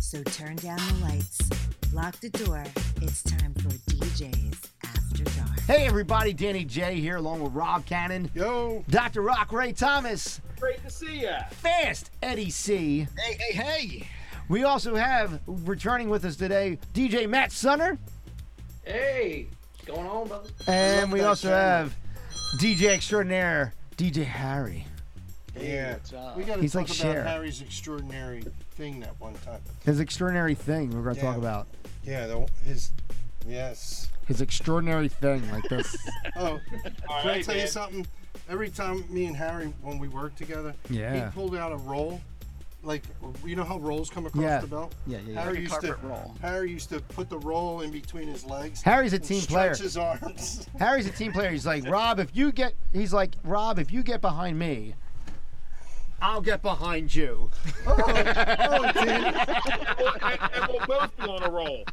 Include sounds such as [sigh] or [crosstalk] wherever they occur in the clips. So turn down the lights, lock the door. It's time for DJ's After Dark. Hey everybody, Danny J here along with Rob Cannon, Yo, Dr. Rock Ray Thomas, great to see ya. Fast Eddie C. Hey, hey, hey. We also have returning with us today DJ Matt Sunner, Hey, what's going on, brother? and Love we that also channel. have DJ Extraordinaire DJ Harry. Yeah, we got to He's talk like about Cher. Harry's extraordinary thing that one time. His extraordinary thing we're going to talk Yeah. about. Yeah, the, his. Yes. His extraordinary thing like this. Oh, can I right, tell you man. something? Every time me and Harry, when we worked together, Yeah. he pulled out a roll. Like you know how rolls come across Yeah. the belt. Yeah, yeah, yeah. Harry Like used to Harry used to put the roll in between his legs. Harry's a and team player. stretch his arms. [laughs] Harry's a team player. He's like, Rob, if you get, he's like, Rob, if you get behind me, I'll get behind you. oh, dude. and, and we'll both be on a roll.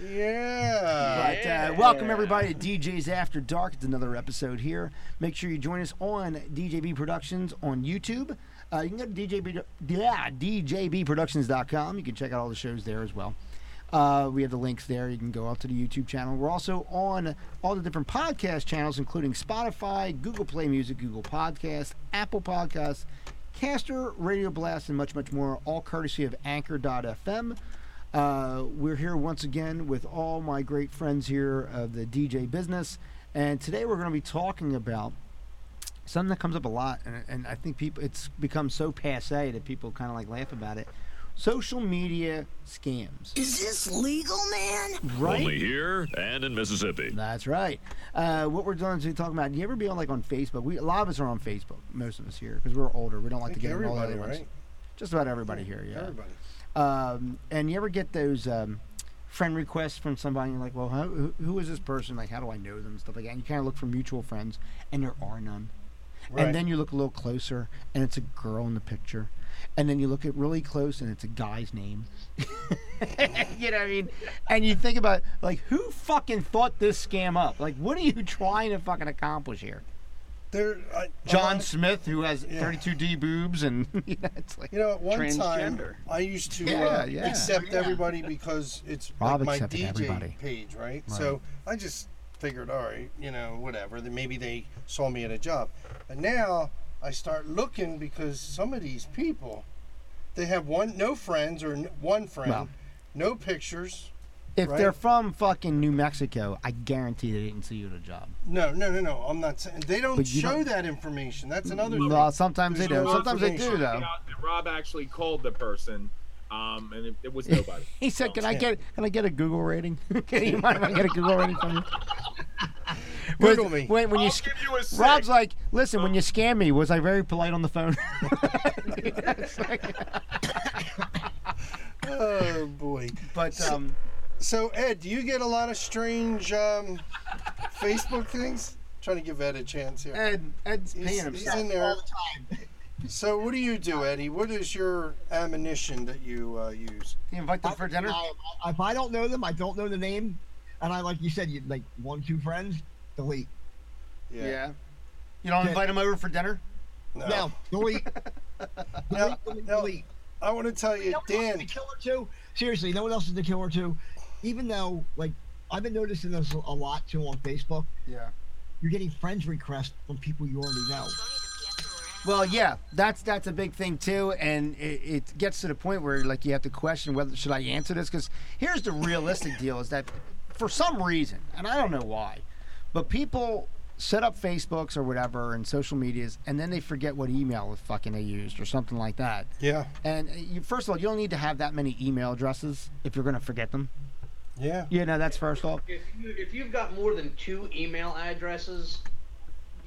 Yeah. But uh, welcome everybody to DJ's After Dark. It's another episode here. Make sure you join us on DJB Productions on YouTube. Uh, you can go to DJB, yeah, DJBProductions.com. You can check out all the shows there as well. Uh, we have the links there. You can go out to the YouTube channel. We're also on all the different podcast channels, including Spotify, Google Play Music, Google Podcasts, Apple Podcasts, Caster, Radio Blast, and much, much more, all courtesy of Anchor.fm. Uh, we're here once again with all my great friends here of the DJ business, and today we're going to be talking about something that comes up a lot, and, and I think people it's become so passe that people kind of like laugh about it. Social media scams, Is this legal, man? right? Only here and in Mississippi. That's right. Uh, what we're going to be talking about. You ever be on like on Facebook? We a lot of us are on Facebook. Most of us here because we're older. We don't like to Like get on all the everybody, other ones. right? Just about everybody here. Yeah. Everybody. Um, and you ever get those um, friend requests from somebody? And you're like, well, how, who, who is this person? Like, how do I know them? Stuff like that. And you kind of look for mutual friends, and there are none. Right. And then you look a little closer, and it's a girl in the picture. And then you look at really close, and it's a guy's name. [laughs] you know what I mean? And you think about like, who fucking thought this scam up? Like, what are you trying to fucking accomplish here? There, I, John I- Smith, who has Yeah. 32D boobs, [laughs] and you know, it's like, You know, at one time Transgender. I used to Yeah, uh, yeah. accept everybody because it's Rob like my accepted DJ everybody. page, right? So I just figured, all right, you know, whatever. Then maybe they saw me at a job, and now I start looking because some of these people, they have one no friends or n- one friend, Well. no pictures. If right? they're from fucking New Mexico, I guarantee they didn't see you at a job. No, no, no, no. I'm not saying they don't But you show don't- that information. That's another. Well, sometimes they There's do. no Sometimes they do, confirmation. though. Yeah, and Rob actually called the person, um, and it, [laughs] it was nobody. He said, "Can I Yeah. get can I get a Google rating? [laughs] Can you mind if I get a Google rating from you?" Was- [laughs] Google me. When, when you I'll sc- give you a six. Rob's like, "Listen, when you scam me, was I very polite on the [laughs] phone?" [laughs] It's like- Oh boy. but um, So Ed, do you get a lot of strange um, Facebook things? trying to give Ed a chance here. Ed, Ed's He's- paying he's himself. in there. So what do you do, Eddie? What is your ammunition that you uh, use? You invite them for dinner. I, I- if I don't know them, I don't know the name, and I like you said, you like one, two friends, delete. You don't invite them over for dinner. No. [laughs] No, delete. No, delete, delete, no. delete. I want to tell you, No one else is Dan. the killer too. Seriously, no one else is the killer too. Even though, like, I've been noticing this a lot too on Facebook. Yeah. You're getting friends requests from people you already know. Well, yeah, that's that's a big thing too, and it, it gets to the point where like you have to question whether should I answer this because here's the realistic deal is that for some reason, and I don't know why, but people set up Facebooks or whatever and social medias, and then they forget what email fucking they used or something like that. Yeah. And uh, you, first of all, you don't need to have that many email addresses if you're going to forget them. Yeah. Yeah, no, that's first off. If, you, if you've got more than two email addresses,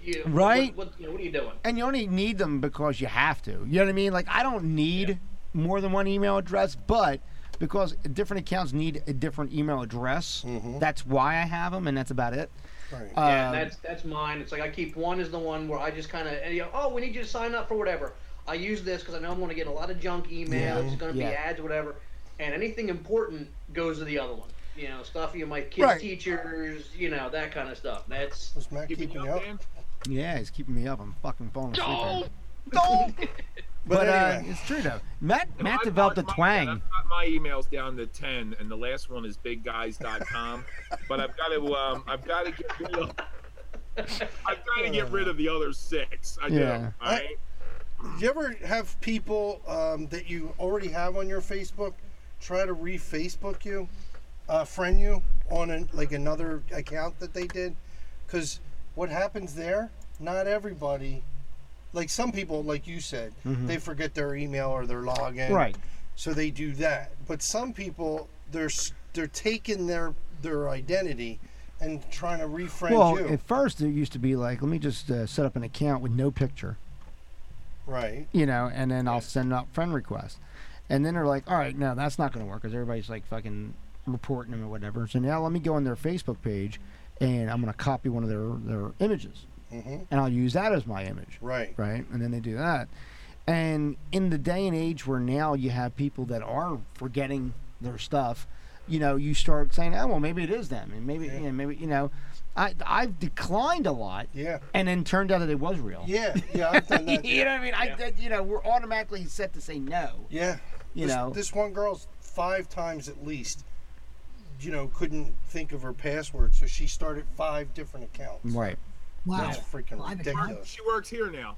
you, Right. What, what, what are you doing? and you only need them because you have to. You know what I mean? Like I don't need more than one email address, but because different accounts need a different email address, that's why I have them, and that's about it. Right. yeah, Um, that's that's mine. It's like I keep one is the one where I just kind of you know, oh we need you to sign up for whatever. I use this because I know I'm going to get a lot of junk emails. It's going to yeah. be ads, whatever, and anything important goes to the other one. You know, stuff you my kids' Right. teachers, you know, that kind of stuff. That's Was Matt keeping you up? Dan? [laughs] Yeah, he's keeping me up. I'm fucking falling asleep. right now. But, But, uh, anyway, it's true though. Matt Matt I've developed a got my- yeah, twang. I've got my emails down to ten, and the last one is bigguys.com. but I've got to, um, I've got to get rid of, I've got to get rid of the other six. I Yeah. do. All right. do you ever have people um, that you already have on your Facebook try to re-Facebook you, uh, friend you on an, like another account that they did? Because what happens there? Not everybody. Like some people, like you said, they forget their email or their login. Mm-hmm. Right. so they do that. But some people, they're s- they're taking their their identity and trying to refriend Well, you. at first it used to be like, let me just uh, set up an account with no picture, right. you know, and then I'll send out friend requests. And then they're like, all right, no, that's not going to work because everybody's like fucking reporting them or whatever. So now let me go on their Facebook page and I'm going to copy one of their, their images hmm and I'll use that as my image. Right. right? And then they do that. And in the day and age where now you have people that are forgetting their stuff, you know, you start saying, "Oh, well, maybe it is them," and maybe, Yeah. you know, maybe you know, I I've declined a lot, Yeah. and then turned out that it was real. Yeah. Yeah. I've [laughs] done that. you know what I mean? I Yeah. that- you know we're automatically set to say no. Yeah. You this, know, this one girl's five times at least. You know, couldn't think of her password, so she started five different accounts. right? Wow. That's freaking Five ridiculous. She works here now.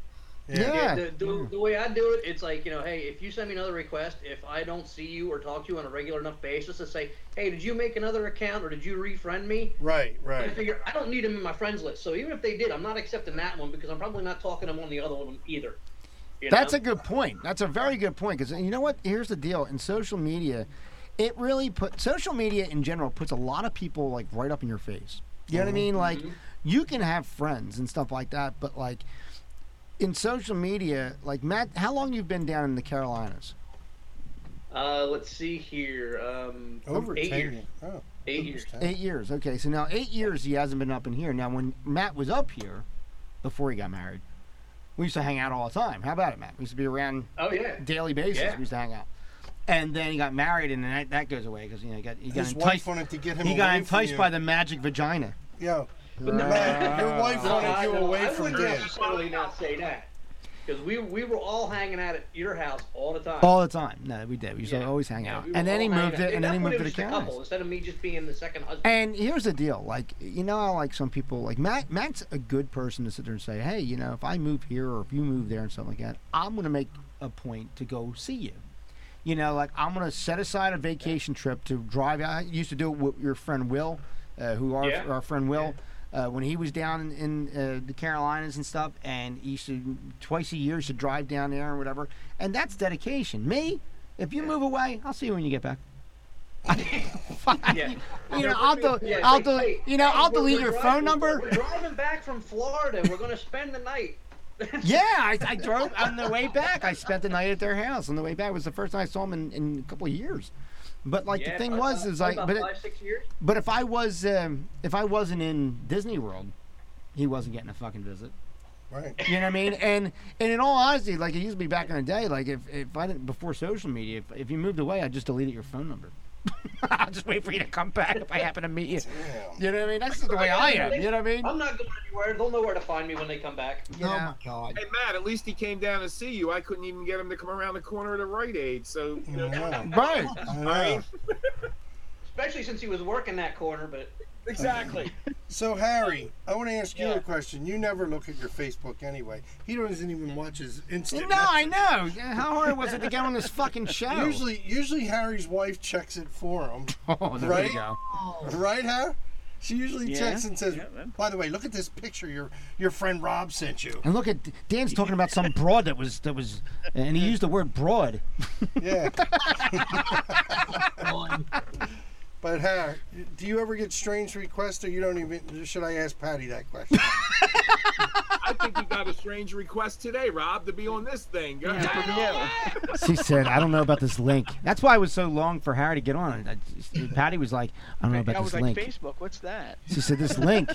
Yeah. The, the, the way I do it, it's like, you know, hey, if you send me another request, if I don't see you or talk to you on a regular enough basis to say, hey, did you make another account or did you refriend me? Right. I Right. figure I don't need them in my friends list. So even if they did, I'm not accepting that one because I'm probably not talking to them on the other one either. You That's know? a good point. That's a very good point because you know what? Here's the deal: in social media, it really put social media in general puts a lot of people like right up in your face. You know what I mean? Like, you can have friends and stuff like that, but like in social media, like Matt, how long you've been down in the Carolinas? Uh, let's see here. Um, Over eight ten. years. years. Oh, Eight almost years. 10. Eight years. Okay, so now eight years he hasn't been up in here. Now, when Matt was up here before he got married, we used to hang out all the time. How about it, Matt? We used to be around Oh yeah. daily basis. Yeah. We used to hang out. And then he got married, and then that, that goes away because you know he got he got His wife enticed. wanted to get him. He got away enticed from by the magic vagina. Yeah. no, Man, your wife No, wanted I- you no, away I from wouldn't him. necessarily not say that because we we were all hanging out at your house all the time. all the time. No, we did. We used to always hang Yeah, out. we were and then all he hanging moved out. it, At and then that he point, moved to the was just a couple Carolinas. instead of me just being the second husband. And here's the deal, like you know, how, like some people, like Matt. Matt's a good person to sit there and say, "Hey, you know, if I move here or if you move there and stuff like that, I'm gonna make a point to go see you." You know, like I'm gonna set aside a vacation trip to drive out. I used to do it with your friend Will, uh, who our Yeah. our friend Will, uh, when he was down in, in uh, the Carolinas and stuff, and he used to twice a year used to drive down there and whatever. And that's dedication. Me, if you move away, I'll see you when you get back. [laughs] Yeah. You know, I'll do, Yeah, I'll say, do, "Hey, you know, hey, I'll we're- delete we're your driving- phone number. We're driving back from Florida. We're gonna spend the night. Yeah, I, I drove on the way back. I spent the night at their house. On the way back it was the first time I saw him in, in a couple of years. But [laughs] like Yeah, the thing about- was, is like, about but it, five, six years. but if I was, um, if I wasn't in Disney World, he wasn't getting a fucking visit. Right. You know what I mean? And and in all honesty, like it used to be back in the day, like if, if I didn't before social media, if, if you moved away, I just deleted your phone number. [laughs] I'll just wait for you to come back if I happen to meet you. Damn. You know what I mean? That's just the way I am. You know what I mean? I'm not going anywhere. They'll know where to find me when they come back. You Oh know? my god. Hey Matt, at least he came down to see you. I couldn't even get him to come around the corner at a Rite Aid. So you know, Yeah. Right. Yeah. Especially since he was working that corner, but exactly. So Harry, I want to ask you Yeah. a question. You never look at your Facebook anyway. He doesn't even watch his [laughs] instant. No, I know. How hard was it to get on this fucking Oh. show? Usually, usually Harry's wife checks it for him, [laughs] oh, there Right? you go. right, Har? She usually Oh. Yeah. checks and says, Yeah, man. "By the way, look at this picture your your friend Rob [laughs] sent you." And look at Dan's talking about some broad that was that was, and he used the word broad. Yeah, God. but Har, do you ever get strange requests, or you don't even? Should I ask Patty that question? I think we got a strange request today, Rob, to be on this thing. Go ahead. Yeah. She said, "I don't know about this link." That's why it was so long for Harry to get on. I- Patty was like, "I don't know about I this was like, link." Facebook, what's that? She said, "This link,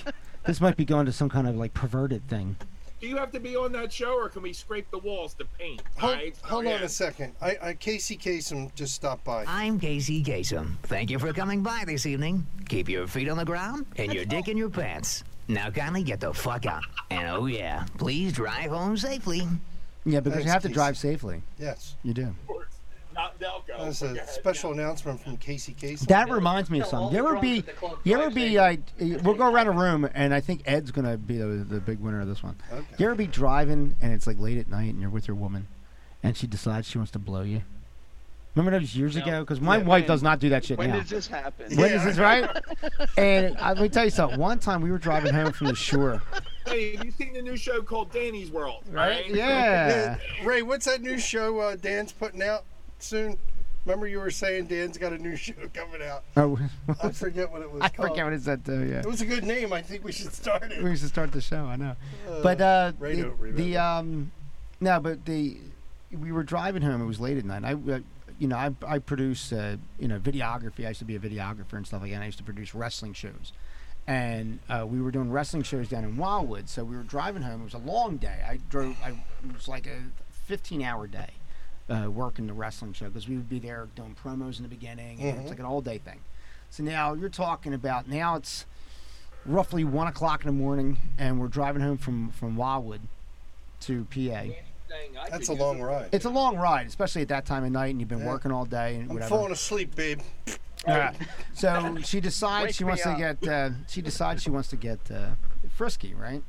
this might be going to some kind of like perverted thing." Do you have to be on that show, or can we scrape the walls to paint? Hold, Alright, so, hold on yeah. a second. I, I Casey Kasem just stopped by. I'm Casey Kasem. Thank you for coming by this evening. Keep your feet on the ground and your dick in your pants. Now kindly get the fuck out. And oh yeah, please drive home safely. Yeah, because you Thanks, have to Casey. drive safely. Yes. You do. Not Delco. That's a special announcement from Casey Casey. That reminds me of No, something. all You the ever drunks be, at the club you ever drive be, safely. like, uh, we'll go around a room, and I think Ed's going to be the, the big winner of this one. Okay. You ever be driving, and it's like late at night, and you're with your woman, and she decides she wants to blow you? Remember those years No. ago? Because my Yeah, wife when- does not do that shit When now. did this happen? When is this right? [laughs] and I, let me tell you something. One time we were driving home from the shore. Hey, have you seen the new show called Danny's World? All Yeah. [laughs] Yeah, Ray, what's that new show uh, Dan's putting out soon? Remember you were saying Dan's got a new [laughs] show coming out. Oh, [laughs] I forget what it was I called. forget what it said too. Yeah. It was a good name. I think we should start We it. used to start the show. I know. But uh, Ray the, don't remember. the um, no, but the we were driving home. It was late at night. I, uh, you know, I I produce uh, you know videography. I used to be a videographer and stuff like that. and I used to produce wrestling shows, and uh, we were doing wrestling shows down in Wildwood. So we were driving home. It was a long day. I drove. I it was like a 15 hour day. Uh, working the wrestling show because we would be there doing promos in the beginning and it's like an all day thing. So now you're talking about now it's roughly one o'clock in the morning, and we're driving home from from Wildwood to PA. That's a long ride. It's a long ride, especially at that time of night, and you've been Yeah. working all day and I'm whatever. falling asleep, babe. Yeah. [laughs] So she decides she Wake wants me to get. Uh, she decides she wants to get uh, frisky, right?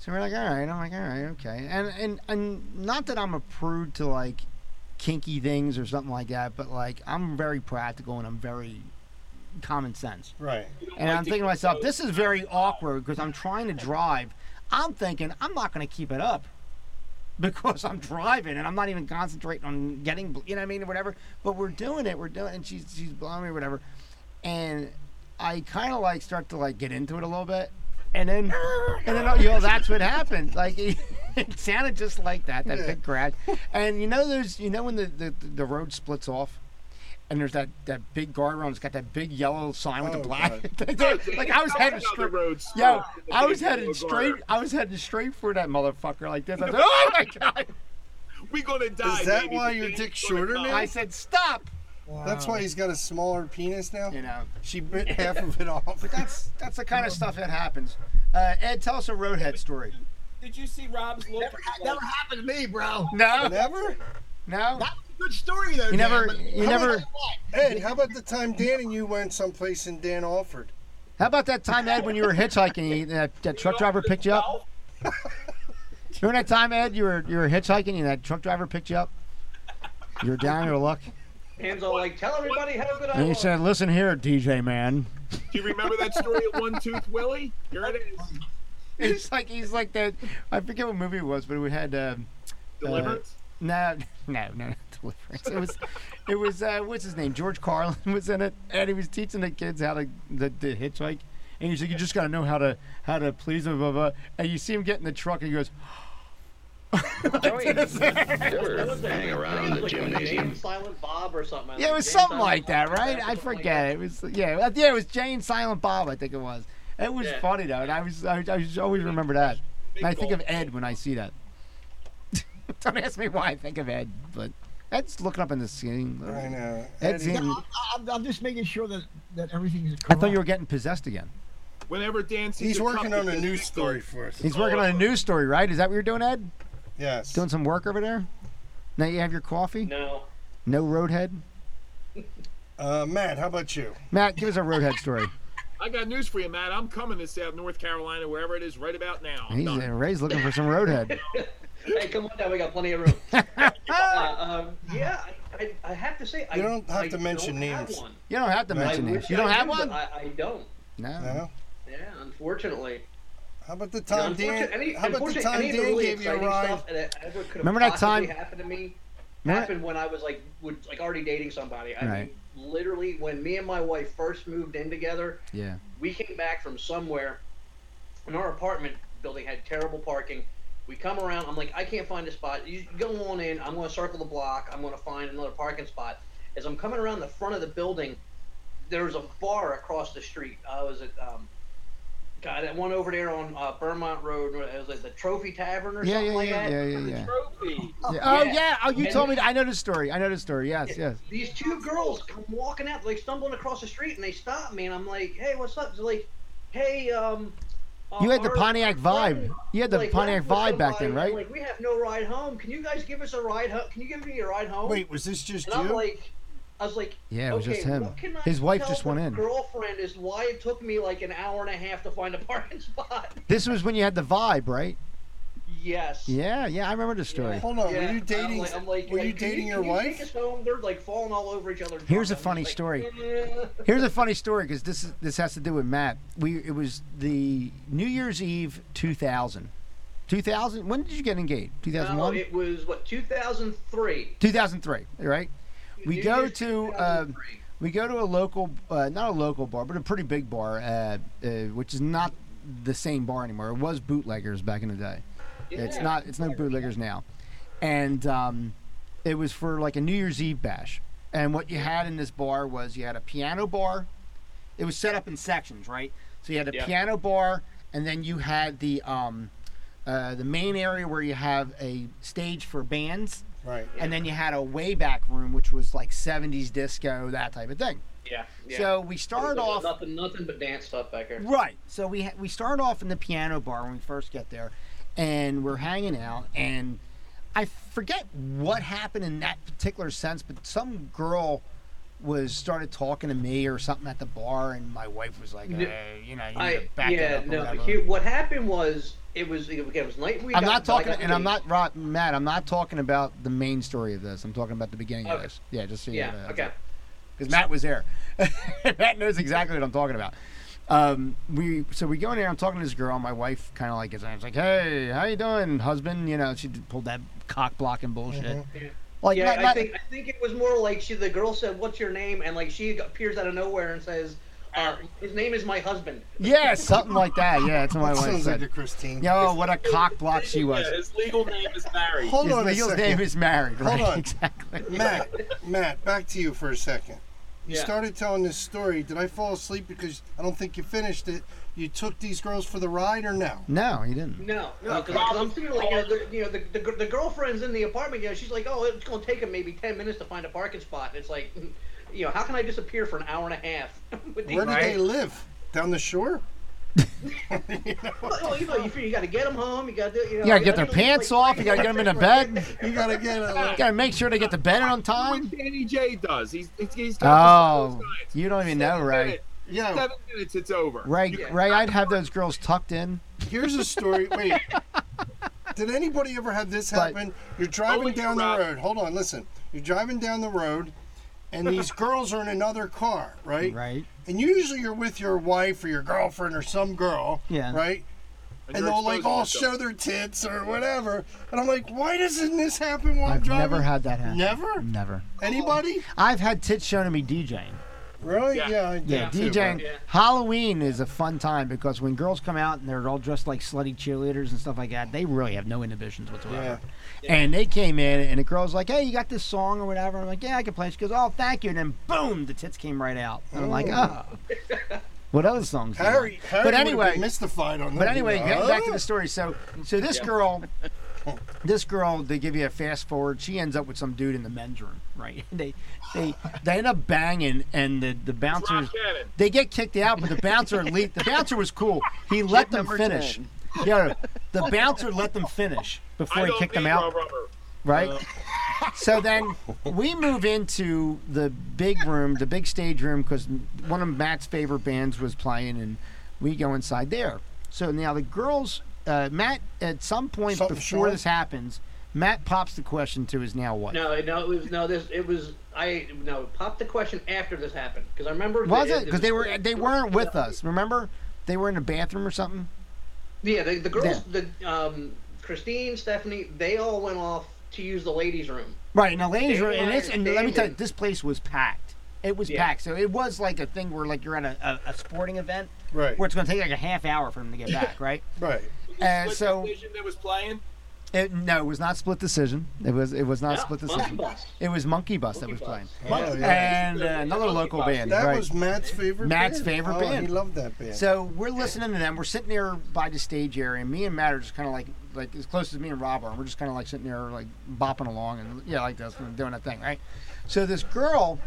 So we're like, all right. I'm like, all right, okay. And and and not that I'm a prude to like kinky things or something like that, but like I'm very practical and I'm very common sense. Right. And I'm thinking to myself, this is very awkward because I'm trying to drive. I'm thinking I'm not going to keep it up [laughs] because I'm driving and I'm not even concentrating on getting, you know what I mean, or whatever. But we're doing it. We're doing, and she's she's blowing me or whatever. And I kind of like start to like get into it a little bit, and then and then you know that's what happened. Like [laughs] it, it sounded just like that that big crash. And you know those you know when the the, the road splits off. And there's that, that big guardrail. and It's got that big yellow sign with Oh, the black. [laughs] right. like I was headed Down the straight. road Yo, straight to I the was big headed boulevard. straight. I was headed straight for that motherfucker like this. I said, "Oh my god!" We gonna die. Is that baby. why The your thing's dick's gonna shorter come. now? I said, "Stop!" That's why he's got a smaller penis now. You know, She bit half of it off. that's that's the kind of stuff that happens. Uh, Ed, tell us a roadhead story. Did you see Rob's look? Never happened to me, bro. No, [laughs] Never? no. That was a good story though. You Dan, never- but you how never- about that? Ed, how about the time Dan and you went someplace and Dan offered? How about that time, Ed, when you were hitchhiking? and That, that truck driver picked you up. Remember that time, Ed? You were you were hitchhiking and that truck driver picked you up. You were down your luck, Hands all like, tell everybody how good I and he am. said, "Listen here, DJ man." Do you remember that story of One Tooth Willie? Here it is. Uh, He's like he's like that. I forget what movie it was, but we had. Um, Deliverance. No, [laughs] no, no, not Deliverance. It was, it was uh, what's his name? George Carlin [laughs] was in it, and he was teaching the kids how to the, the hitchhike. And he's like, you just gotta know how to how to please them, blah, blah. blah." And you see him get in the truck, and he goes, hang around the gymnasium. Silent Bob or something. yeah, it was Jane something Silent like that, Bob, right? I something like forget. It was yeah, uh, yeah, it was Jane Silent Bob, I think it was. It was Yeah. funny though, and I was I, I just always remember that. And I think of Ed when I see that. [laughs] Don't ask me why I think of Ed, but Ed's looking up in the ceiling. I know. Ed's Eddie, Yeah, in, I'm, I'm, I'm just making sure that that everything is. Correct. I thought you were getting possessed again. Whenever Dan sees He's a working truck, on he a says, news story for us. He's working on a news story, right? Is that what you're doing, Ed? Yes. Doing some work over there? Now you have your coffee? that. No. [laughs] No roadhead? Uh, Matt, how about you? Matt, give us a roadhead [laughs] story. I got news for you, Matt. I'm coming to South North Carolina, wherever it is, right about now. I'm He's, done. uh, Ray's looking for some [laughs] roadhead. Hey, come on down. We got plenty of room. uh, um, yeah, I, I, I have to say, I You don't have I to mention don't have names. one. You don't have to Right. mention I names. wish You don't I have did, but one? I, I don't. No. No? Yeah, unfortunately. How about the time Dan? Unfortunately, any, how about the unfortunately, time any of Dan the really gave you a exciting ride? stuff that ever could Remember Remember that that time time- happened to me? Remember- Happened when I was like, would, like already dating somebody. I Right. mean, literally, when me and my wife first moved in together, Yeah. we came back from somewhere, and our apartment building had terrible parking. We come around. I'm like, I can't find a spot. You go on in. I'm going to circle the block. I'm going to find another parking spot. As I'm coming around the front of the building, there's a bar across the street. I was at um, God, that one over there on uh, Vermont Road. where It was like the Trophy Tavern or Yeah, something yeah, like yeah, that. yeah, yeah, yeah. Trophy. Yeah. Oh, yeah. yeah. Oh, you And- told me. I know the story. I know the story. Yes, yes. these two girls come walking out, like stumbling across the street, and they stop me, and I'm like, "Hey, what's up?" They're like, "Hey, um, You had the our- Pontiac vibe. You had the Like, Pontiac left with vibe back then, somebody, right? Like we have no ride home. Can you guys give us a ride home? Can you give me a ride home? Wait, was this just and I'm you? like, I was like, Yeah, it was okay, just him. what can I His wife tell just the went in. Girlfriend is why it took me like an hour and a half to find a parking [laughs] spot. This was when you had the vibe, right? Yes. Yeah, yeah, I remember the story. Hold on, Yeah, were you I'm dating? like- I'm like, were like, you can dating can your you wife? Take us home. They're like falling all over each other. Here's a drunk. I'm funny just story. like, "Eh." Here's a funny story because this is, this has to do with Matt. We it was the New Year's Eve 2000. 2000. When did you get engaged? No, 2001. it was what 2003. 2003. Right. We New go Year's to, um, 2003. We go to a local, uh, not a local bar, but a pretty big bar, uh, uh, which is not the same bar anymore. It was bootleggers back in the day. It's Yeah. not. It's no bootleggers now. And um, it was for like a New Year's Eve bash. And what you had in this bar was you had a piano bar. It was set up in sections, right? So you had a Yeah. piano bar, and then you had the um, uh, the main area where you have a stage for bands, Right. and then you had a way back room, which was like '70s disco, that type of thing. Yeah. yeah. So we started There was off Nothing, nothing but dance stuff back there. Right. So we ha- we start off in the piano bar when we first get there, and we're hanging out, and I forget what happened in that particular sense, but some girl was started talking to me or something at the bar, and my wife was like, Yeah. "Hey, you know, you need I to back that yeah up or no. whatever." Here, what happened was it was it was night. We I'm not got- but I talking, got and I'm engaged. not Rob, Matt. I'm not talking about the main story of this. I'm talking about the beginning of Okay. this. Yeah, just so you Yeah. know. okay. because Matt was there. [laughs] Matt knows exactly what I'm talking about. Um, we so we go in there. I'm talking to this girl. My wife kind of like gets in. I was like, "Hey, how you doing, husband?" You know, she d- pulled that cock blocking bullshit. Mm-hmm. Like, yeah, Matt, I Matt- think I think it was more like she. The girl said, "What's your name?" And like she appears out of nowhere and says, uh, "His name is my husband." yeah, something like that. Yeah, that's what my That wife sounds like said. a Christine. Yo, what a cock block she was. Yeah, his legal name is Barry. Hold His on a legal second. name is married, right? Hold on. Exactly. Matt, Matt, back to you for a second. You Yeah. started telling this story. Did I fall asleep because I don't think you finished it? You took these girls for the ride or no? No, he didn't. No, no, because I'm thinking like you know, the, you know the, the gir- the girlfriend's in the apartment. You know, she's like, "Oh, it's gonna take him maybe ten minutes to find a parking spot." And it's like, [laughs] you know, how can I disappear for an hour and a half? [laughs] with these Where did they guys? live? Down the shore? Well, you know, you, feel- you got to get them home. You got to, you know, You gotta get I their think it was pants like off. You gotta get them in [laughs] a [laughs] bed. You gotta get a You gotta make sure they get to bed on What time. Danny J does. He's he's, he's got Oh, the signs. you don't even know, Seven Ray. minutes- yeah. Seven minutes, it's over. Ray, Yeah. Ray, I'd have those girls tucked in. Here's a story. Wait. Did anybody ever have this But- happen? You're driving Only down the Oh, Rob. road. Hold on, listen. You're driving down the road, and [laughs] these girls are in another car, right? Right. And usually you're with your wife or your girlfriend or some girl, Yeah. right? and you're they'll like exposing all yourself. show their tits or whatever. And I'm like, why doesn't this happen while I'm I've driving? never had that happen. Never? Never. Anybody? I've had tits shown to me DJing. Really? Yeah. Yeah, I did Yeah, too, DJing. but- Yeah. Halloween is a fun time because when girls come out and they're all dressed like slutty cheerleaders and stuff like that, they really have no inhibitions whatsoever. And they came in and the girl's like, "Hey, you got this song or whatever?" I'm like, "Yeah, I can play." it." She goes, "Oh, thank you." And then boom, the tits came right out. And I'm like, "Oh." What other songs? do you Harry, like? Harry but would've anyway, been mystified on that. But anyway, you know, getting back to "Huh?" the story. So, so this girl, this girl, they give you a fast forward. She ends up with some dude in the men's room, right? [laughs] They, they, they end up banging, and the the bouncers, Rock Cannon. they get kicked out. But the [laughs] bouncer, le- the bouncer was cool. He let them number finish. 10. Yeah, the bouncer let them finish before I he don't kicked them need out raw rubber. right? [laughs] so then we move into the big room, the big stage room, because one of Matt's favorite bands was playing, and we go inside there. So now the girls, uh, Matt, at some point Something before short? this happens, Matt pops the question to his now wife. No, no, it was no. This it was. I no. Pop the question after this happened because I remember. Was the- it? Because they were they weren't with us. Remember, they were in a bathroom or something. Yeah, the, the girls, the um, Christine, Stephanie, they all went off to use the ladies' room. [laughs] Right, in a ladies' They room, and were it's and let me tell you, standing. this place was packed. It was Yeah. packed, so it was like a thing where like you're at a, a, a sporting event Right. where it's going to take like a half hour for them to get back, right? Right. And What so division that was playing? It, no, it was not split decision. It was it was not Yeah, split monkey decision. bus. It was Monkey Bus that was Monkey playing, Bus. Oh, yeah. and uh, another Monkey local Bus. band, That right? was Matt's favorite Matt's band. favorite oh, band. He loved that band. So we're listening to them. We're sitting there by the stage area, and me and Matt are just kind of like like as close as me and Rob are. and We're just kind of like sitting there like bopping along and yeah, like this and doing that thing, right? So this girl,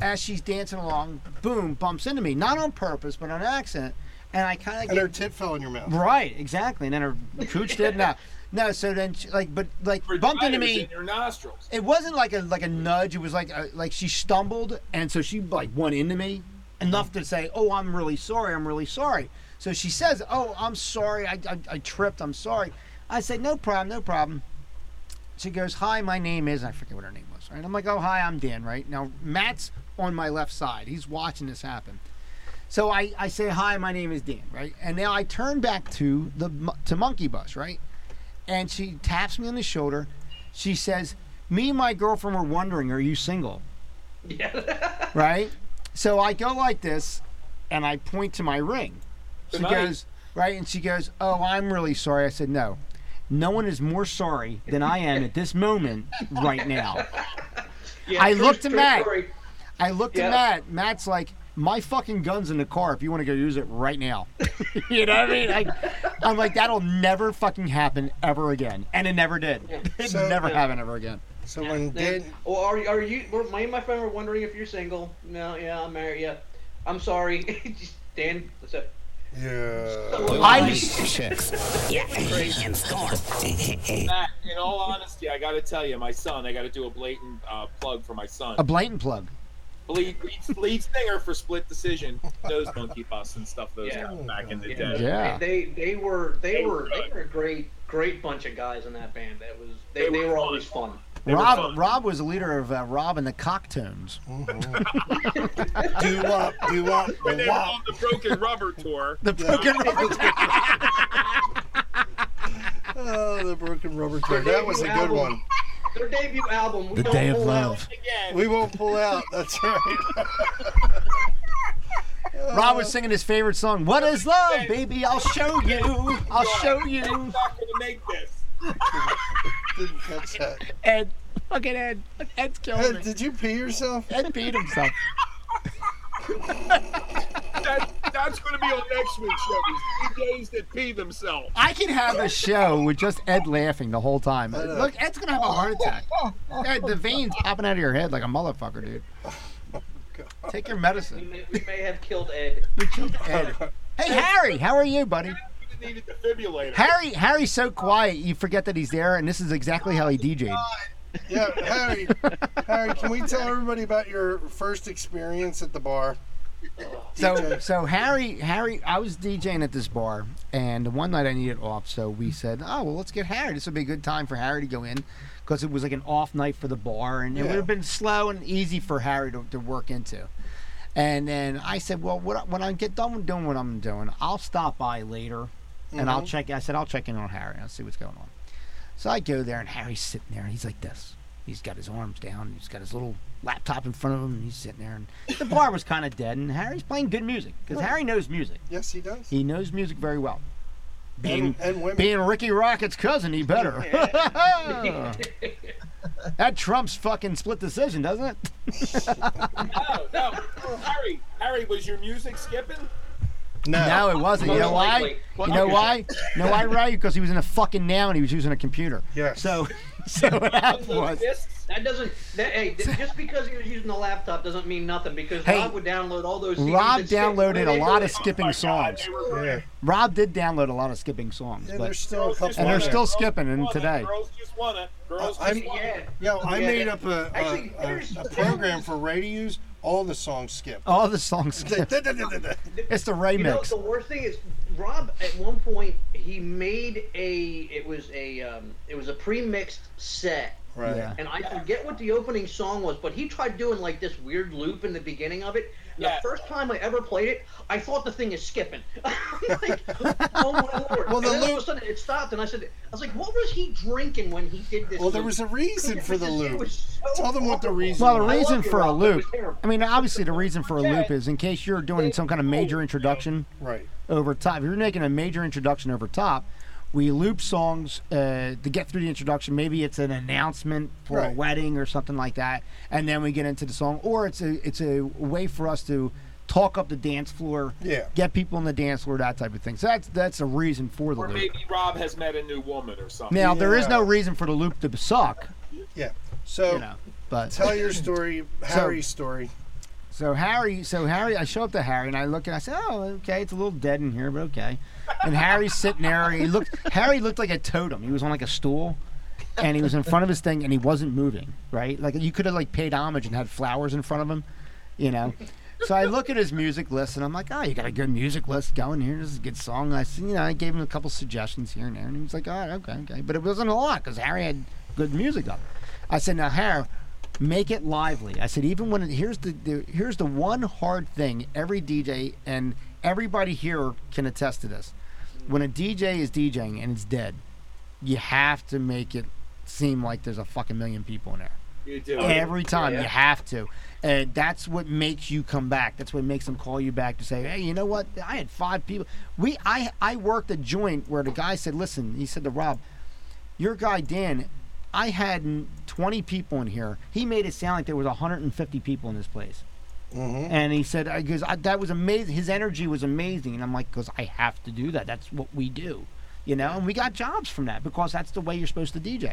as she's dancing along, boom, bumps into me, not on purpose but on accident, and I kind of And her get tit fell in your mouth. right exactly, and then her cooch did no, no. So then, she, like, but like bumped into Spiders me. in your nostrils. It wasn't like a like a nudge. It was like a, like she stumbled, and so she like went into me enough to say, "Oh, I'm really sorry. I'm really sorry." So she says, "Oh, I'm sorry. I I, I tripped. I'm sorry." I said, "No problem. No problem." She goes, "Hi, my name is." I forget what her name was. Right? I'm like, "Oh, hi. I'm Dan." Right now, Matt's on my left side. He's watching this happen. So I, I say hi, my name is Dan, right? And now I turn back to the mo- to Monkey Bus, right? And she taps me on the shoulder. She says, "Me and my girlfriend were wondering, are you single?" Yeah. Right? So I go like this, and I point to my ring. She Tonight. goes right, and she goes, "Oh, I'm really sorry." I said, "No, no one is more sorry than I am at this moment right now." yeah I true- looked at true Matt. story. I looked Yeah. at Matt. Matt's like, my fucking gun's in the car. If you want to go use it right now, you know what I [laughs] mean? I, I'm like, that'll never fucking happen ever again, and it never did. It So- never happened ever again. So when Then- Dan, well, are are you? Were, me and my friend were wondering if you're single. No, yeah, I'm married. Yeah, I'm sorry, [laughs] Dan. What's up? [laughs] yeah, I Matt, in all honesty, I got to tell you, my son, I got to do a blatant uh, plug for my son. a blatant plug. lead, lead, lead singer for Split Decision, those Monkey Bus and stuff. Those Yeah. guys back in the Yeah. day. Yeah. They they were they, They were were they good. were a great great bunch of guys in that band. That was they, They they were were fun. always fun. They were Rob fun. Rob was the leader of uh, Rob and the Cocktones. do wop, do wop, When they do were wop. on the Broken Rubber [laughs] tour, The [laughs] broken Rubber Town. Oh, the broken rubber tour. That was a good one. Their debut album, we The Don't Day of Pull Out Love. Again. We won't pull out. That's right. Rob was singing his favorite song, "What Is Love, Baby? I'll show you. I'll show I'm you." not gonna make this. Didn't catch that. Ed, look at Ed. Ed's killing Ed, me. did you pee yourself? Ed beat himself. That, that's gonna be on next week's show. Is DJs that pee themselves. I can have a show with just Ed laughing the whole time. know. Look, Ed's gonna have a heart attack. Ed, the veins popping out of your head like a motherfucker, dude. Take your We medicine. may, we may have killed Ed. We killed Ed. Hey Harry, how are you, buddy? You needed defibrillator. Harry, Harry's so quiet, you forget that he's there, and this is exactly how he DJ'd. Yeah, [laughs] Harry. Harry, can we tell everybody about your first experience at the bar? So, DJ. so Harry, Harry, I was DJing at this bar, and one night I needed off, so we said, "Oh well, let's get Harry. This would be a good time for Harry to go in, because it was like an off night for the bar, and it Yeah. would have been slow and easy for Harry to, to work into." And then I said, "Well, what, I- when I get done with doing what I'm doing, I'll stop by later, and I'll check." I said, "I'll check in on Harry. I'll see what's going on." So I go there, and Harry's sitting there, and he's like this. He's got his arms down. and He's got his little laptop in front of him, and he's sitting there. And [laughs] the bar was kind of dead, and Harry's playing good music because Harry knows music. Yes, he does. He knows music very well. Being And, and women. being Ricky Rocket's cousin, he [laughs] better. that trumps fucking split decision, doesn't it? No, no. Oh, Harry, Harry, was your music skipping? no. No, it wasn't. You know Most why? likely. You know why? You know why, [laughs] right? Because he was in a fucking now and he was using a computer. Yes. So, [laughs] so what [laughs] happened was. Discs? That doesn't. That, hey, th- just because he was using a laptop doesn't mean nothing. Because Hey, Rob would download all those. CDs Rob and stick them downloaded a in lot of his- skipping songs. They were great. Yeah. Rob did download a lot of skipping songs, And but there's still a Girls couple. just and wanna- they're still girls skipping just in wanna- today. Girls just wanna. Girls I'm- just wanna. Yeah. Yo, I Yeah, made that- up a, a- actually, a- there's- a [laughs] program for radios. All the songs skip. all the songs. [laughs] skip. That's It's the Ray You know, mix. the worst thing is Rob. At one point, he made a. It was a. Um, it was a pre-mixed set, [laughs] Right. Yeah. and I forget what the opening song was, but he tried doing like this weird loop in the beginning of it. And Yeah. The first time I ever played it, I thought the thing is skipping. [laughs] I'm like, [laughs] oh my lord! Well, the and then all of loop- a sudden it stopped, and I said, I was like, what was he drinking when he did this? Well, there loop? was a reason for It the was- it loop. was so Tell them what the horrible. reason Well, the was. I reason love you, for a Rob. It was loop. terrible. I mean, obviously, the reason for a loop is in case you're doing some kind of major introduction Right. over top. If you're making a major introduction over top, we loop songs uh, to get through the introduction. Maybe it's an announcement for a Right. wedding or something like that, and then we get into the song. Or it's a it's a way for us to talk up the dance floor, Yeah. get people on the dance floor, that type of thing. So that's that's a reason for the Or loop. maybe Rob has met a new woman or something. Now there is no Yeah. reason for the loop to suck, Yeah. So you know. But [laughs] tell your story, Harry's story. So Harry, so Harry, I show up to Harry and I look and I say, "Oh, okay, it's a little dead in here, but okay." And Harry's sitting there. He looked. Harry looked like a totem. He was on like a stool, and he was in front of his thing, and he wasn't moving. Right? Like you could have like paid homage and had flowers in front of him, you know. So I look at his music list and I'm like, "Oh, you got a good music list going here. This is a good song." And I, s- you know, I gave him a couple suggestions here and there, and he was like, "All right, okay, okay," but it wasn't a lot because Harry had good music up. I said, "Now, Harry." make it lively. I said, even when it, here's the, the here's the one hard thing every DJ and everybody here can attest to this. When a DJ is DJing and it's dead, you have to make it seem like there's a fucking million people in there. You do. Every time yeah. you have to, and that's what makes you come back. That's what makes them call you back to say, "Hey, you know what? I had five people. We, I, I worked a joint where the guy said, "Listen," he said to Rob, "Your guy Dan, I had n- 20 people in here. He made it sound like there was 150 people in this place." Mhm. Mm-hmm. And he said, "I because I- that was amazing. His energy was amazing." And I'm like, "Because I have to do that. That's what we do." You know, and we got jobs from that because that's the way you're supposed to DJ.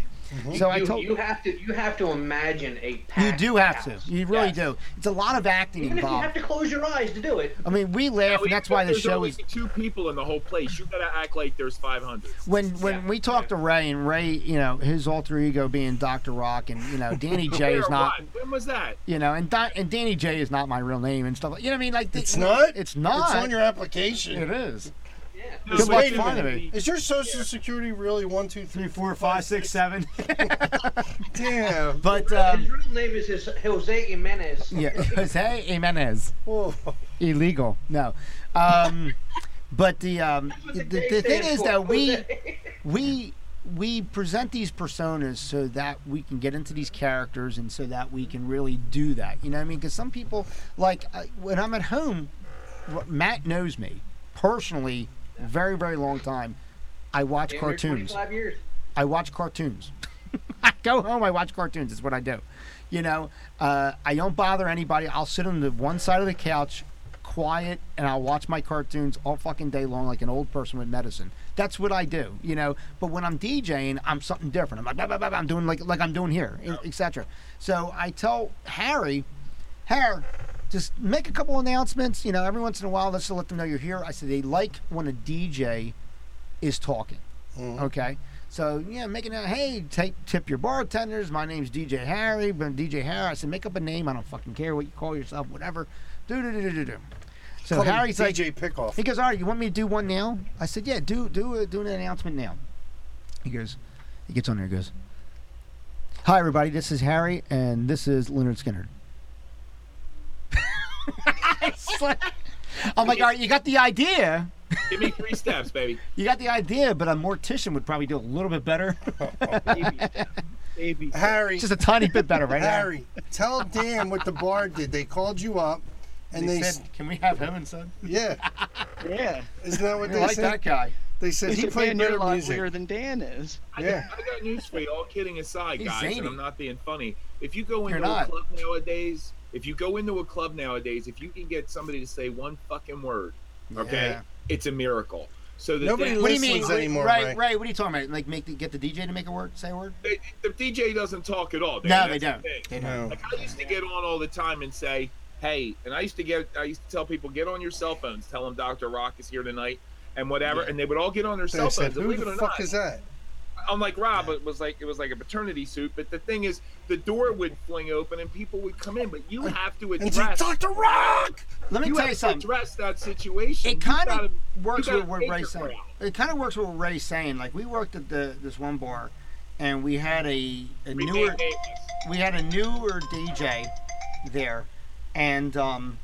So I you, told you have to you have to imagine a you packed do have to. house. You really Yes. do. It's a lot of acting Even if you have involved. to close your eyes to do it. I mean, we laugh, Now, and that's even why if the there's show only is. two people in the whole place. You gotta act like there's 500. When when we talk to Ray and Ray, you know, his alter ego being Doctor Rock, and you know, [laughs] Danny J Where, is not, what? When was that? you know, and Di- and Danny J is not my real name and stuff. like- You know what I mean? Like the- It's not? It's not. It's on your application. It is. Yeah. No, Just but like wait a fun of minute. Is your social security really one, two, three? Three, four, five, six, [laughs] seven. [laughs] Damn. but um, His real name is his Jose Jimenez. yeah, [laughs] Jose Jimenez. Whoa. Illegal. No. [laughs] Um, but the um, That's what the, J the thing stands is for, that we. Jose. we we present these personas so that we can get into these characters and so that we can really do that you know what i mean because some people like I, when i'm at home R- matt knows me personally very very long time i watch Damn near cartoons 25 years. I watch cartoons. [laughs] I go home, I watch cartoons. It's what I do. You know, uh, I don't bother anybody. I'll sit on the one side of the couch, quiet, and I'll watch my cartoons all fucking day long like an old person with medicine. That's what I do, you know. But when I'm DJing, I'm something different. I'm like, blah, blah, blah, blah. I'm doing like like I'm doing here, etc. So I tell Harry, Hair, just make a couple announcements. You know, every once in a while, just to let them know you're here. I said they like when a DJ is talking. Okay. So yeah, making out. Hey, take tip your bartenders. My name's DJ Harry, but DJ Harry. I said make up a name. I don't fucking care what you call yourself, whatever. Do do do do do do. So Call him Harry's like, DJ Pickoff. he goes, "All right, you want me to do one now?" I said, "Yeah, do do a, do an announcement now." He goes, he gets on there, and goes, "Hi everybody, this is Harry, and this is Leonard Skinner." [laughs] It's like- I'm like, "All right, you got the idea, Give me three steps, baby. you got the idea, but a mortician would probably do a little bit better, [laughs] Baby. Harry. just a tiny bit better, right?" Harry. Harry, tell Dan what the bar did. They called you up, and they, s- "Can we have him instead?" yeah, Yeah. isn't [laughs] that what I they like said? that guy. They said he He played you're a better lot music. weirder than Dan is. Yeah, I got news for you. All kidding aside, He's guys, and zany. I'm not being funny. If you go You're into a not. club nowadays, if you go into a club nowadays, if you can get somebody to say one fucking word, okay, Yeah. it's a miracle. So the Nobody dan- What do you Listens mean, anymore, right, Ray. right? What are you talking about? Like, make the, get the DJ to make a word, say a word? they, the DJ doesn't talk at all. Dan. No, they don't. That's the thing. They don't. no. Like I used to get on all the time and say, "Hey," and I used to get, I used to tell people, "Get on your cell phones. Tell them Doctor Rock is here tonight." And whatever, and they would all get on their They cell said, phones. and who believe it the or fuck not, is that? I'm like Rob. It was like it was like a paternity suit. But the thing is, the door would fling open and people would come in. But you have to And said, address. Doctor Rock. Let me you tell have you to something. address that situation. You It kind gotta- of works you with gotta what take Ray's your saying. crowd. It kind of works with what Ray's saying. Like we worked at the this one bar, and we had a, a Remain newer nameless. we had a newer DJ there, and um,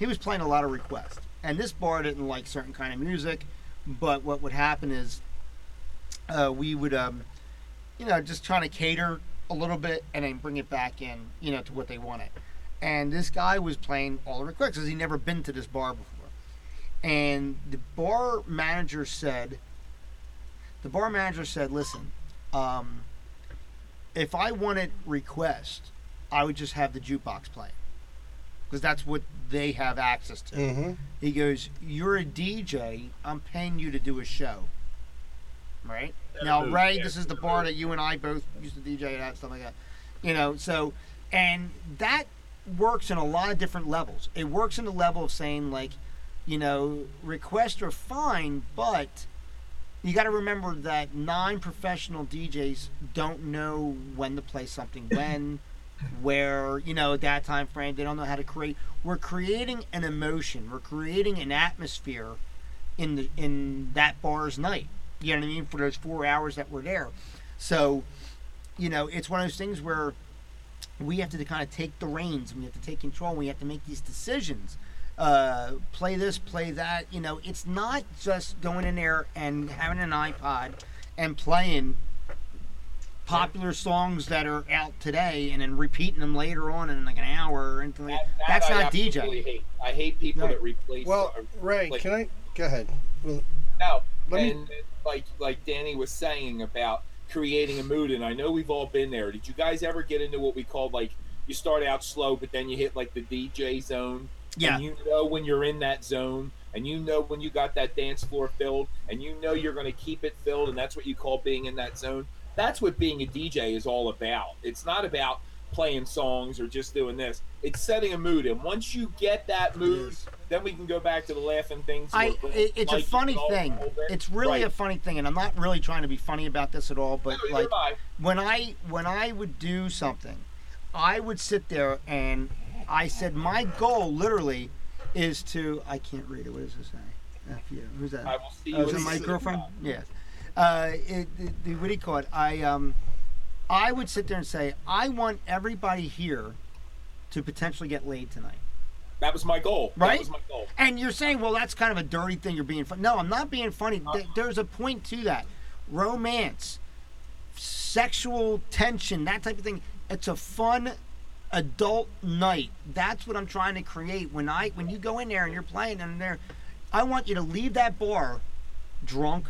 he was playing a lot of requests. And this bar didn't like certain kind of music, but what would happen is uh, we would, um, you know, just trying to cater a little bit and then bring it back in, you know, to what they wanted. And this guy was playing all the requests because he'd never been to this bar before. And the bar manager said, the bar manager said, listen, um, if I wanted request, I would just have the jukebox playing because that's what they have access to. Mm-hmm. He goes, "You're a DJ. I'm paying you to do a show." Right now, move, Ray, yeah, this is the bar that you and I both used to DJ at, stuff like that. You know, so and that works in a lot of different levels. It works in the level of saying like, you know, requests are fine, but you got to remember that non-professional DJs don't know when to play something when, where you know at that time frame they don't know how to create. We're creating an emotion. We're creating an atmosphere in the in that bar's night. You know what I mean? For those four hours that we're there, so you know it's one of those things where we have to kind of take the reins. We have to take control. We have to make these decisions. Uh, play this, play that. You know, it's not just going in there and having an iPod and playing popular songs that are out today and then repeating them later on in like an hour or anything like that. That That's I not absolutely DJ. Hate. I hate people No. that replace. Well, uh, Ray, like, can I go ahead? Well, No, Let me- and uh, like like Danny was saying about creating a mood, and I know we've all been there. Did you guys ever get into what we called like you start out slow, but then you hit like the DJ zone? Yeah. And you know when you're in that zone, and you know when you got that dance floor filled, and you know you're going to keep it filled, and that's what you call being in that zone. That's what being a DJ is all about. It's not about playing songs or just doing this. It's setting a mood, and once you get that mood, then we can go back to the laughing things. I, where it, it's a Mike funny and all- thing. all that- It's really a Right. funny thing, and I'm not really trying to be funny about this at all. But Neither like, am I. when I when I would do something, I would sit there and I said my goal literally is to I can't read it. What does it say? F you. Who's that? I will see Oh, you is in it the my city. girlfriend? Yes. Uh, it, it, the- what do you call it? I um, I would sit there and say I want everybody here to potentially get laid tonight. That was my goal. Right? That was my goal. And you're saying, well, that's kind of a dirty thing. You're being funny. No, I'm not being funny. Uh. Th- There's a point to that. Romance, sexual tension, that type of thing. It's a fun adult night. That's what I'm trying to create. When I when you go in there and you're playing in there, I want you to leave that bar drunk,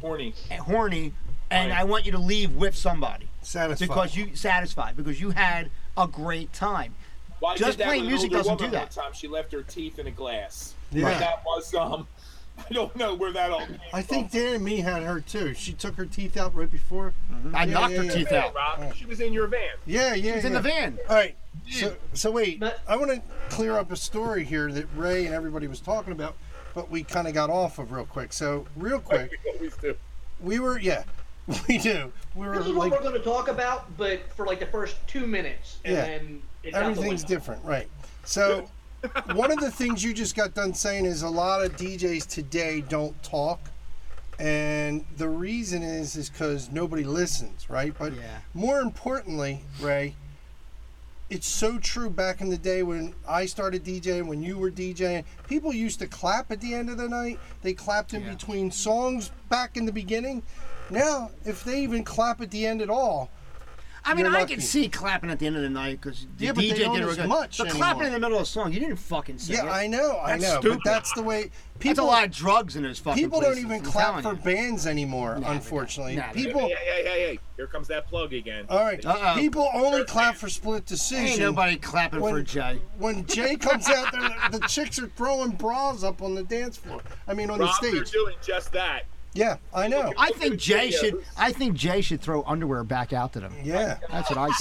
Horny. and horny, and Right. I want you to leave with somebody satisfied. because you satisfied because you had a great time. Well, I Just did that playing with an music older doesn't woman do one that. Time she left her teeth in a glass. Yeah. Like, that was um. [laughs] I don't know where that all. Came I think Dan and me had her too. She took her teeth out right before. I Yeah, knocked yeah, her yeah. teeth from. out. Rob, she was in your van. Yeah, yeah. It's in yeah. the van. All right. So, so wait, But- I want to clear up a story here that Ray and everybody was talking about, but we kind of got off of real quick. So, real quick, We always do. we were, yeah, [laughs] we do. We were This is what Um, like, we're going to talk about, but for like the first two minutes, and Yeah. then it's out the everything's window. different, right? [laughs] So, one of the things you just got done saying is a lot of DJs today don't talk, and the reason is is because nobody listens, right? But Yeah. more importantly, Ray, it's so true. Back in the day when I started DJing, when you were DJing, people used to clap at the end of the night. They clapped in between songs back in the beginning. Now, if they even clap at the end at all, I mean, You're I lucky. can see clapping at the end of the night because the Yeah, but they DJ don't did it real as good. much but clapping anymore. in the middle of a song, you didn't fucking see yeah, it. I know, I That's know, stupid. but that's the way people. That's a lot of drugs in those fucking People places, don't even I'm clap telling for you. bands anymore, don't. unfortunately. Nah, they people, Hey, hey, hey, hey! Here comes that plug again. all right, Uh-oh. people only clap for split decision. Uh-uh. Ain't nobody clapping for When- Jay. When [laughs] Jay comes out there, the the chicks are throwing bras up on the dance floor. I mean, on Rob, the they're stage. doing just that. Yeah, I know. I think Jay should. I think Jay should throw underwear back out to them. Yeah. That's what I say.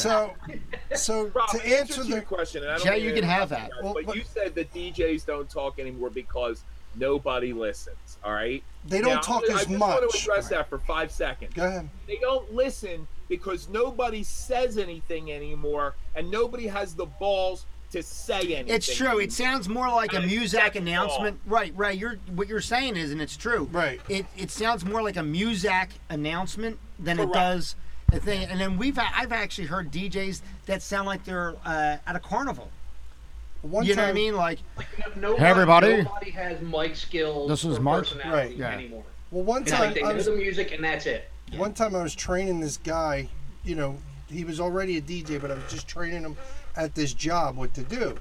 [laughs] So, so Rob, to answer your the question, and I don't Jay, mean you to can have interrupt that. you guys, Well, but but- you said that DJs don't talk anymore because nobody listens. All right. They don't Now, I'm talk gonna- as I just want much. to address that for five seconds. go ahead. they don't listen because nobody says anything anymore and nobody has the balls to say anything. It's true. It sounds more like a That is- Muzak that's announcement. Right, right. You're what you're saying is, and it's true. Right. It it sounds more like a Muzak announcement than it Correct. does a thing. And then we've ha- I've actually heard DJs that sound like they're uh, at a carnival. One you time, know what I mean? Like Like, no- nobody, Hey, everybody. Nobody has mic skills. This is or Mark. personality Right, yeah. Anymore. Well, one It's like time they I know was the music and that's it. One time I was training this guy, you know, he was already a DJ, but I was just training him at this job what to do.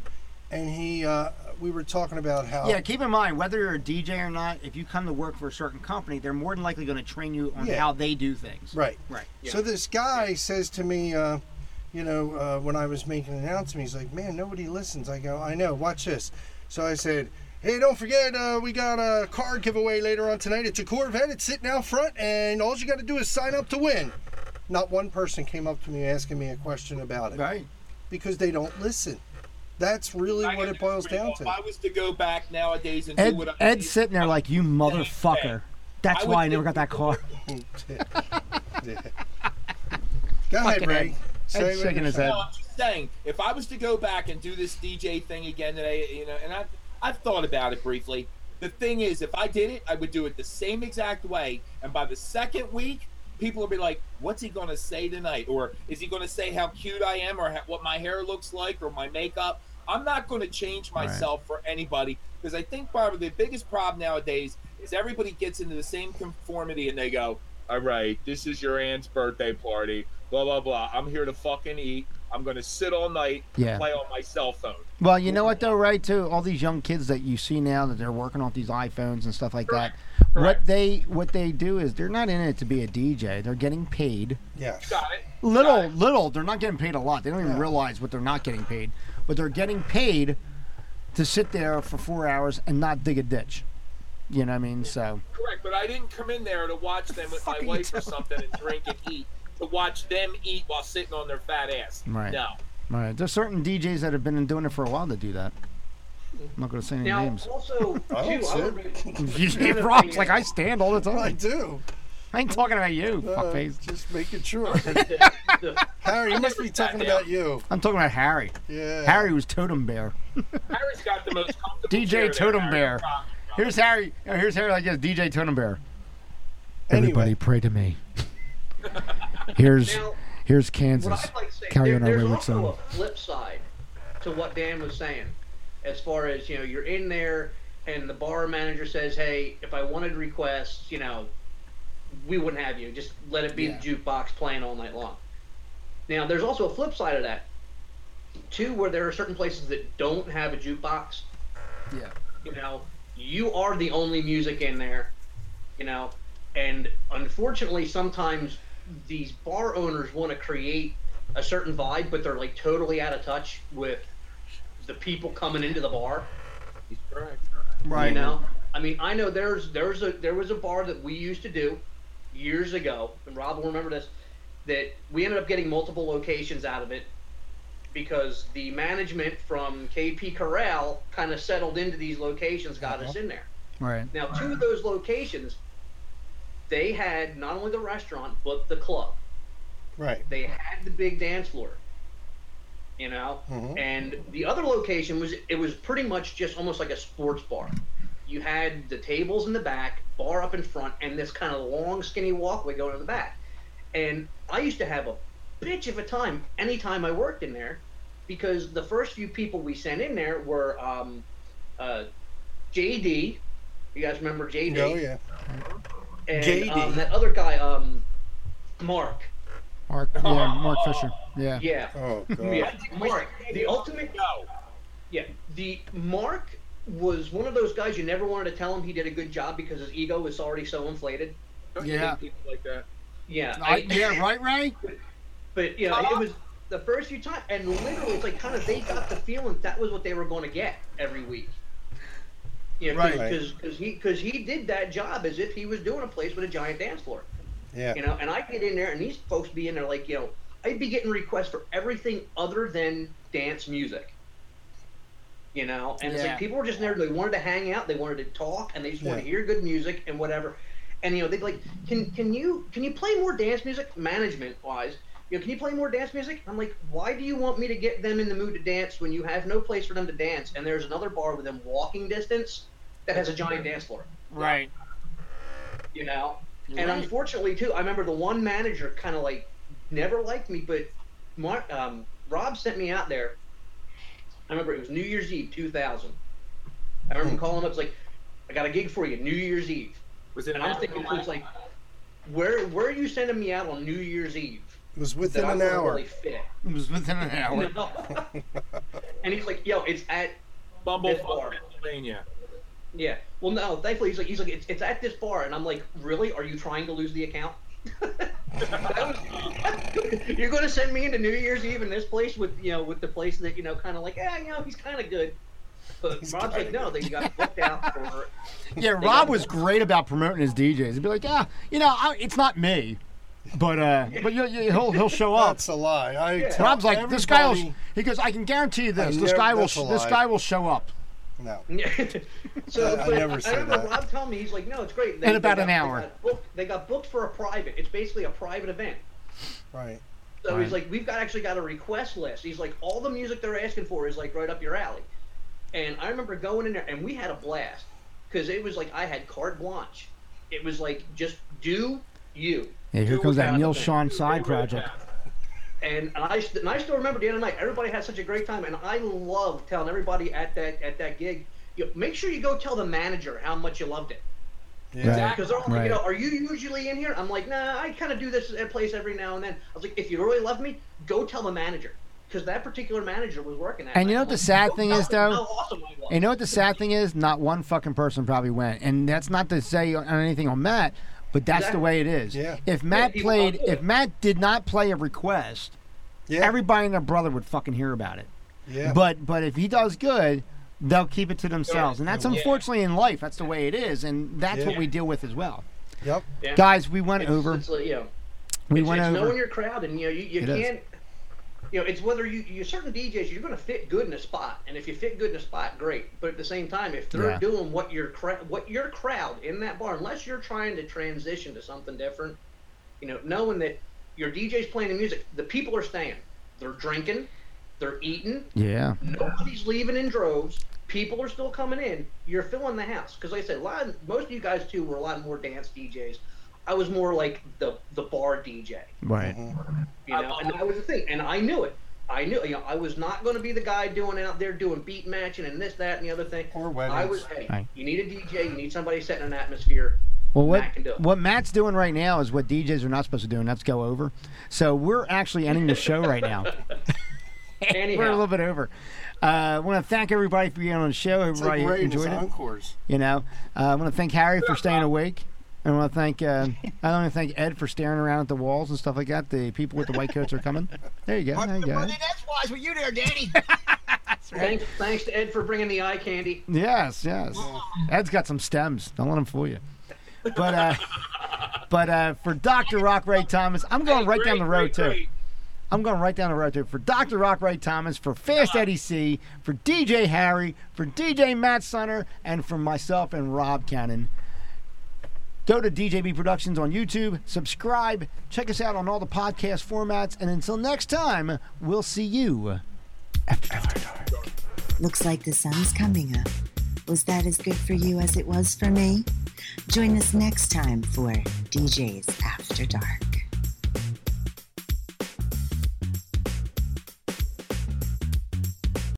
And he, uh, we were talking about how. Yeah, keep in mind whether you're a DJ or not. If you come to work for a certain company, they're more than likely going to train you on Yeah. how they do things. Right. Right. So this guy says to me, uh, you know, uh, when I was making an announcement, he's like, man, nobody listens. I go, I know, watch this. So I said, hey, don't forget, uh, we got a car giveaway later on tonight. It's a Corvette, it's sitting out front, and all you got to do is sign up to win. Not one person came up to me asking me a question about it Right. because they don't listen. That's really I what it boils down If I to. was to go back nowadays and Ed, do what I Ed's sitting there like, you motherfucker. That's I would why I never got that [laughs] car. [laughs] Go ahead, Fucking Ray. Ed. Say Ed's what shaking you're his saying. head. No, I'm just saying, if I was to go back and do this DJ thing again today, you know, and I've, I've thought about it briefly. The thing is, if I did it, I would do it the same exact way. And by the second week, people would be like, what's he going to say tonight? Or is he going to say how cute I am or how, what my hair looks like or my makeup? I'm not going to change Right. myself for anybody because I think probably the biggest problem nowadays is everybody gets into the same conformity and they go, all right, this is your aunt's birthday party, blah, blah, blah. I'm here to fucking eat. I'm going to sit all night and Yeah. play on my cell phone. Well, you know what though, right? Too all these young kids that you see now that they're working off these iPhones and stuff like that. What Correct. they what they do is they're not in it to be a DJ. They're getting paid Yes. Got it? little, little. They're not getting paid a lot. They don't even realize what they're not getting paid, but they're getting paid to sit there for four hours and not dig a ditch. You know what I mean? So Correct, but I didn't come in there to watch them with my wife or something and drink and eat. To watch them eat while sitting on their fat ass. Right. No. all right, there's certain DJs that have been doing it for a while that do that. I'm not gonna say any [laughs] Now, names. [laughs] also, too, I don't I sit. [laughs] would be- Rob's like I stand all the I [laughs] time. do. I ain't talking about you, Uh, fuckface. just making sure. Harry, you must be talking about you. I'm talking about Harry. Yeah. Harry was Totem Bear. Harry's got the most comfortable chair DJ there, Totem Harry. Bear. Here's Harry. oh, Here's Harry like this. DJ Totem Bear. Everybody Anyway. pray to me. here's Now, here's what Kansas. I'd like to say, Carry there- on our there's wayward also son. a flip side to what Dan was saying, as far as you know, you're in there and the bar manager says, "Hey, if I wanted requests, you know, we wouldn't have you. Just let it be the jukebox playing all night long." Now, there's also a flip side of that, too, where there are certain places that don't have a jukebox. Yeah. You know, you are the only music in there. You know, and unfortunately, sometimes these bar owners want to create a certain vibe, but they're like totally out of touch with the people coming into the bar. He's correct. You know, I mean, I know there's there's a there was a bar that we used to do years ago, and Rob will remember this. That we ended up getting multiple locations out of it because the management from KP Corral kind of settled into these locations, got us in there. Right. Now, two of those locations, they had not only the restaurant but the club. Right. They had the big dance floor. You know, Mhm. and the other location was it was pretty much just almost like a sports bar. You had the tables in the back, bar up in front, and this kind of long, skinny walkway going to the back. And I used to have a bitch of a time anytime I worked in there, because the first few people we sent in there were um, uh, JD. You guys remember JD? Oh, yeah. And JD. Um, that other guy, um, Mark. Mark. Yeah. [laughs] Mark Fisher. Yeah. Yeah. Oh, God. Yeah, Mark, the ultimate. No. Yeah, the Mark was one of those guys you never wanted to tell him he did a good job because his ego was already so inflated. Don't you Yeah. hate people like that? Yeah, I- yeah. Right, Uh-huh. Ray. but you know, it was the first few times, and literally, it's like kind of they got the feeling that was what they were going to get every week. Yeah, Right. because he because he did that job as if he was doing a place with a giant dance floor. Yeah. You know, and I get in there, and these folks be in there like, you know, I'd be getting requests for everything other than dance music. You know, and it's Yeah. like people were just in there. They wanted to hang out, they wanted to talk, and they just wanted to Yeah. hear good music and whatever. And you know, they'd be like, can can you can you play more dance music, management wise? You know, can you play more dance music? I'm like, why do you want me to get them in the mood to dance when you have no place for them to dance? And there's another bar within walking distance that has a giant dance floor Right. you know. And unfortunately, too, I remember the one manager kind of like never liked me, but Mar- um, Rob sent me out there. I remember it was New Year's Eve, 2000. I remember Hmm. calling him up, it's like, I got a gig for you, New Year's Eve. Was it And I'm Apple thinking, Pie? it's like, where where are you sending me out on New Year's Eve? It was That within I an wouldn't hour. Really fit? It was within an hour. [laughs] No. and he's like, yo, it's at Bumblefuck, Bar. Pennsylvania. yeah. Well, no, thankfully he's like he's like it's, it's at this bar, and I'm like, really? Are you trying to lose the account? [laughs] That was- you're going to send me into New Year's Eve in this place with you know with the place that you know kind of like yeah you know he's kind of good, but Rob's like no they got booked out for [laughs] Yeah. Rob was great about promoting his DJs. He'd be like, yeah, you know, I, it's not me. But uh, but you, you, he'll he'll show up. That's a lie. I tell Rob's like this guy. Will, everybody- he goes, I can guarantee you I this. This never- guy will. that's a This lie. guy will show up. No. So I- I but never say remember that. Rob telling me he's like, no, it's great. In about got- an hour. They got, booked, they got booked for a private. It's basically a private event. Right. So he's Right. like, we've got actually got a request list. He's like, all the music they're asking for is like right up your alley. And I remember going in there, and we had a blast because it was like I had carte blanche. It was like just do you. Yeah, here Do comes that without Neil the thing. Sean side project. And I, st- and I still remember the other night. Everybody had such a great time, and I love telling everybody at that at that gig. You know, make sure you go tell the manager how much you loved it. Yeah. Because they're all like, Right. you know, are you usually in here? I'm like, nah, I kind of do this at a place every now and then. I was like, if you really love me, go tell the manager. Because that particular manager was working at. And you know what the sad thing is, though? How awesome I was. And you know what the sad thing is? Not one fucking person probably went. And that's not to say on anything on Matt, but that's the Exactly. way it is. Yeah. If Matt people played, don't do if Matt did not play a request, everybody and their brother would fucking hear about it. Yeah. But but if he does good, they'll keep it to themselves, and that's Yeah. unfortunately in life. That's the way it is, and that's what Yeah. we deal with as well. Yep. Yeah. Guys, we went It's- over. It's, like, you know, we it's, went it's over. knowing your crowd, and you know, you, you It is. can't. You know, it's whether you you certain DJs you're going to fit good in a spot, and if you fit good in a spot, great. But at the same time, if they're Yeah. doing what your cra- what your crowd in that bar, unless you're trying to transition to something different, you know, knowing that your DJ's playing the music, the people are staying, they're drinking, they're eating, yeah. Nobody's leaving in droves. People are still coming in. You're filling the house because like I said a lot. most of you guys too were a lot more dance DJs. I was more like the the bar DJ, Right. Mm-hmm. you know, and that was the thing. And I knew it. I knew, you know, I was not going to be the guy doing out there doing beat matching and this, that, and the other thing. Or weddings. I was. Hey, Right. you need a DJ. You need somebody setting an atmosphere. Well, what Matt can do it. what Matt's doing right now is what DJs are not supposed to do, and that's go over. So we're actually ending the show right now. [laughs] we're a Anyhow, little bit over. Uh, I want to thank everybody for being on the show. It's like Everybody Ray and his enjoyed it. encores. You know, uh, I want to thank Harry for staying awake. And I want to thank uh, I want to thank Ed for staring around at the walls and stuff like that. The people with the white coats are coming. There you go. There you go. That's why were you there, Danny? thanks, thanks to Ed for bringing the eye candy. Yes, yes. Ed's got some stems. Don't let him fool you. But uh, but uh, for Doctor Rock Ray Thomas, I'm going right down the road too. I'm going right down the road too. For Doctor Rock Ray Thomas, for Fast Eddie C, for DJ Harry, for DJ Matt Sunner, and for myself and Rob Cannon. Go to DJB Productions on YouTube, subscribe, check us out on all the podcast formats, and until next time, we'll see you. Looks like the sun's coming up. Was that as good for you as it was for me? Join us next time for DJs After Dark.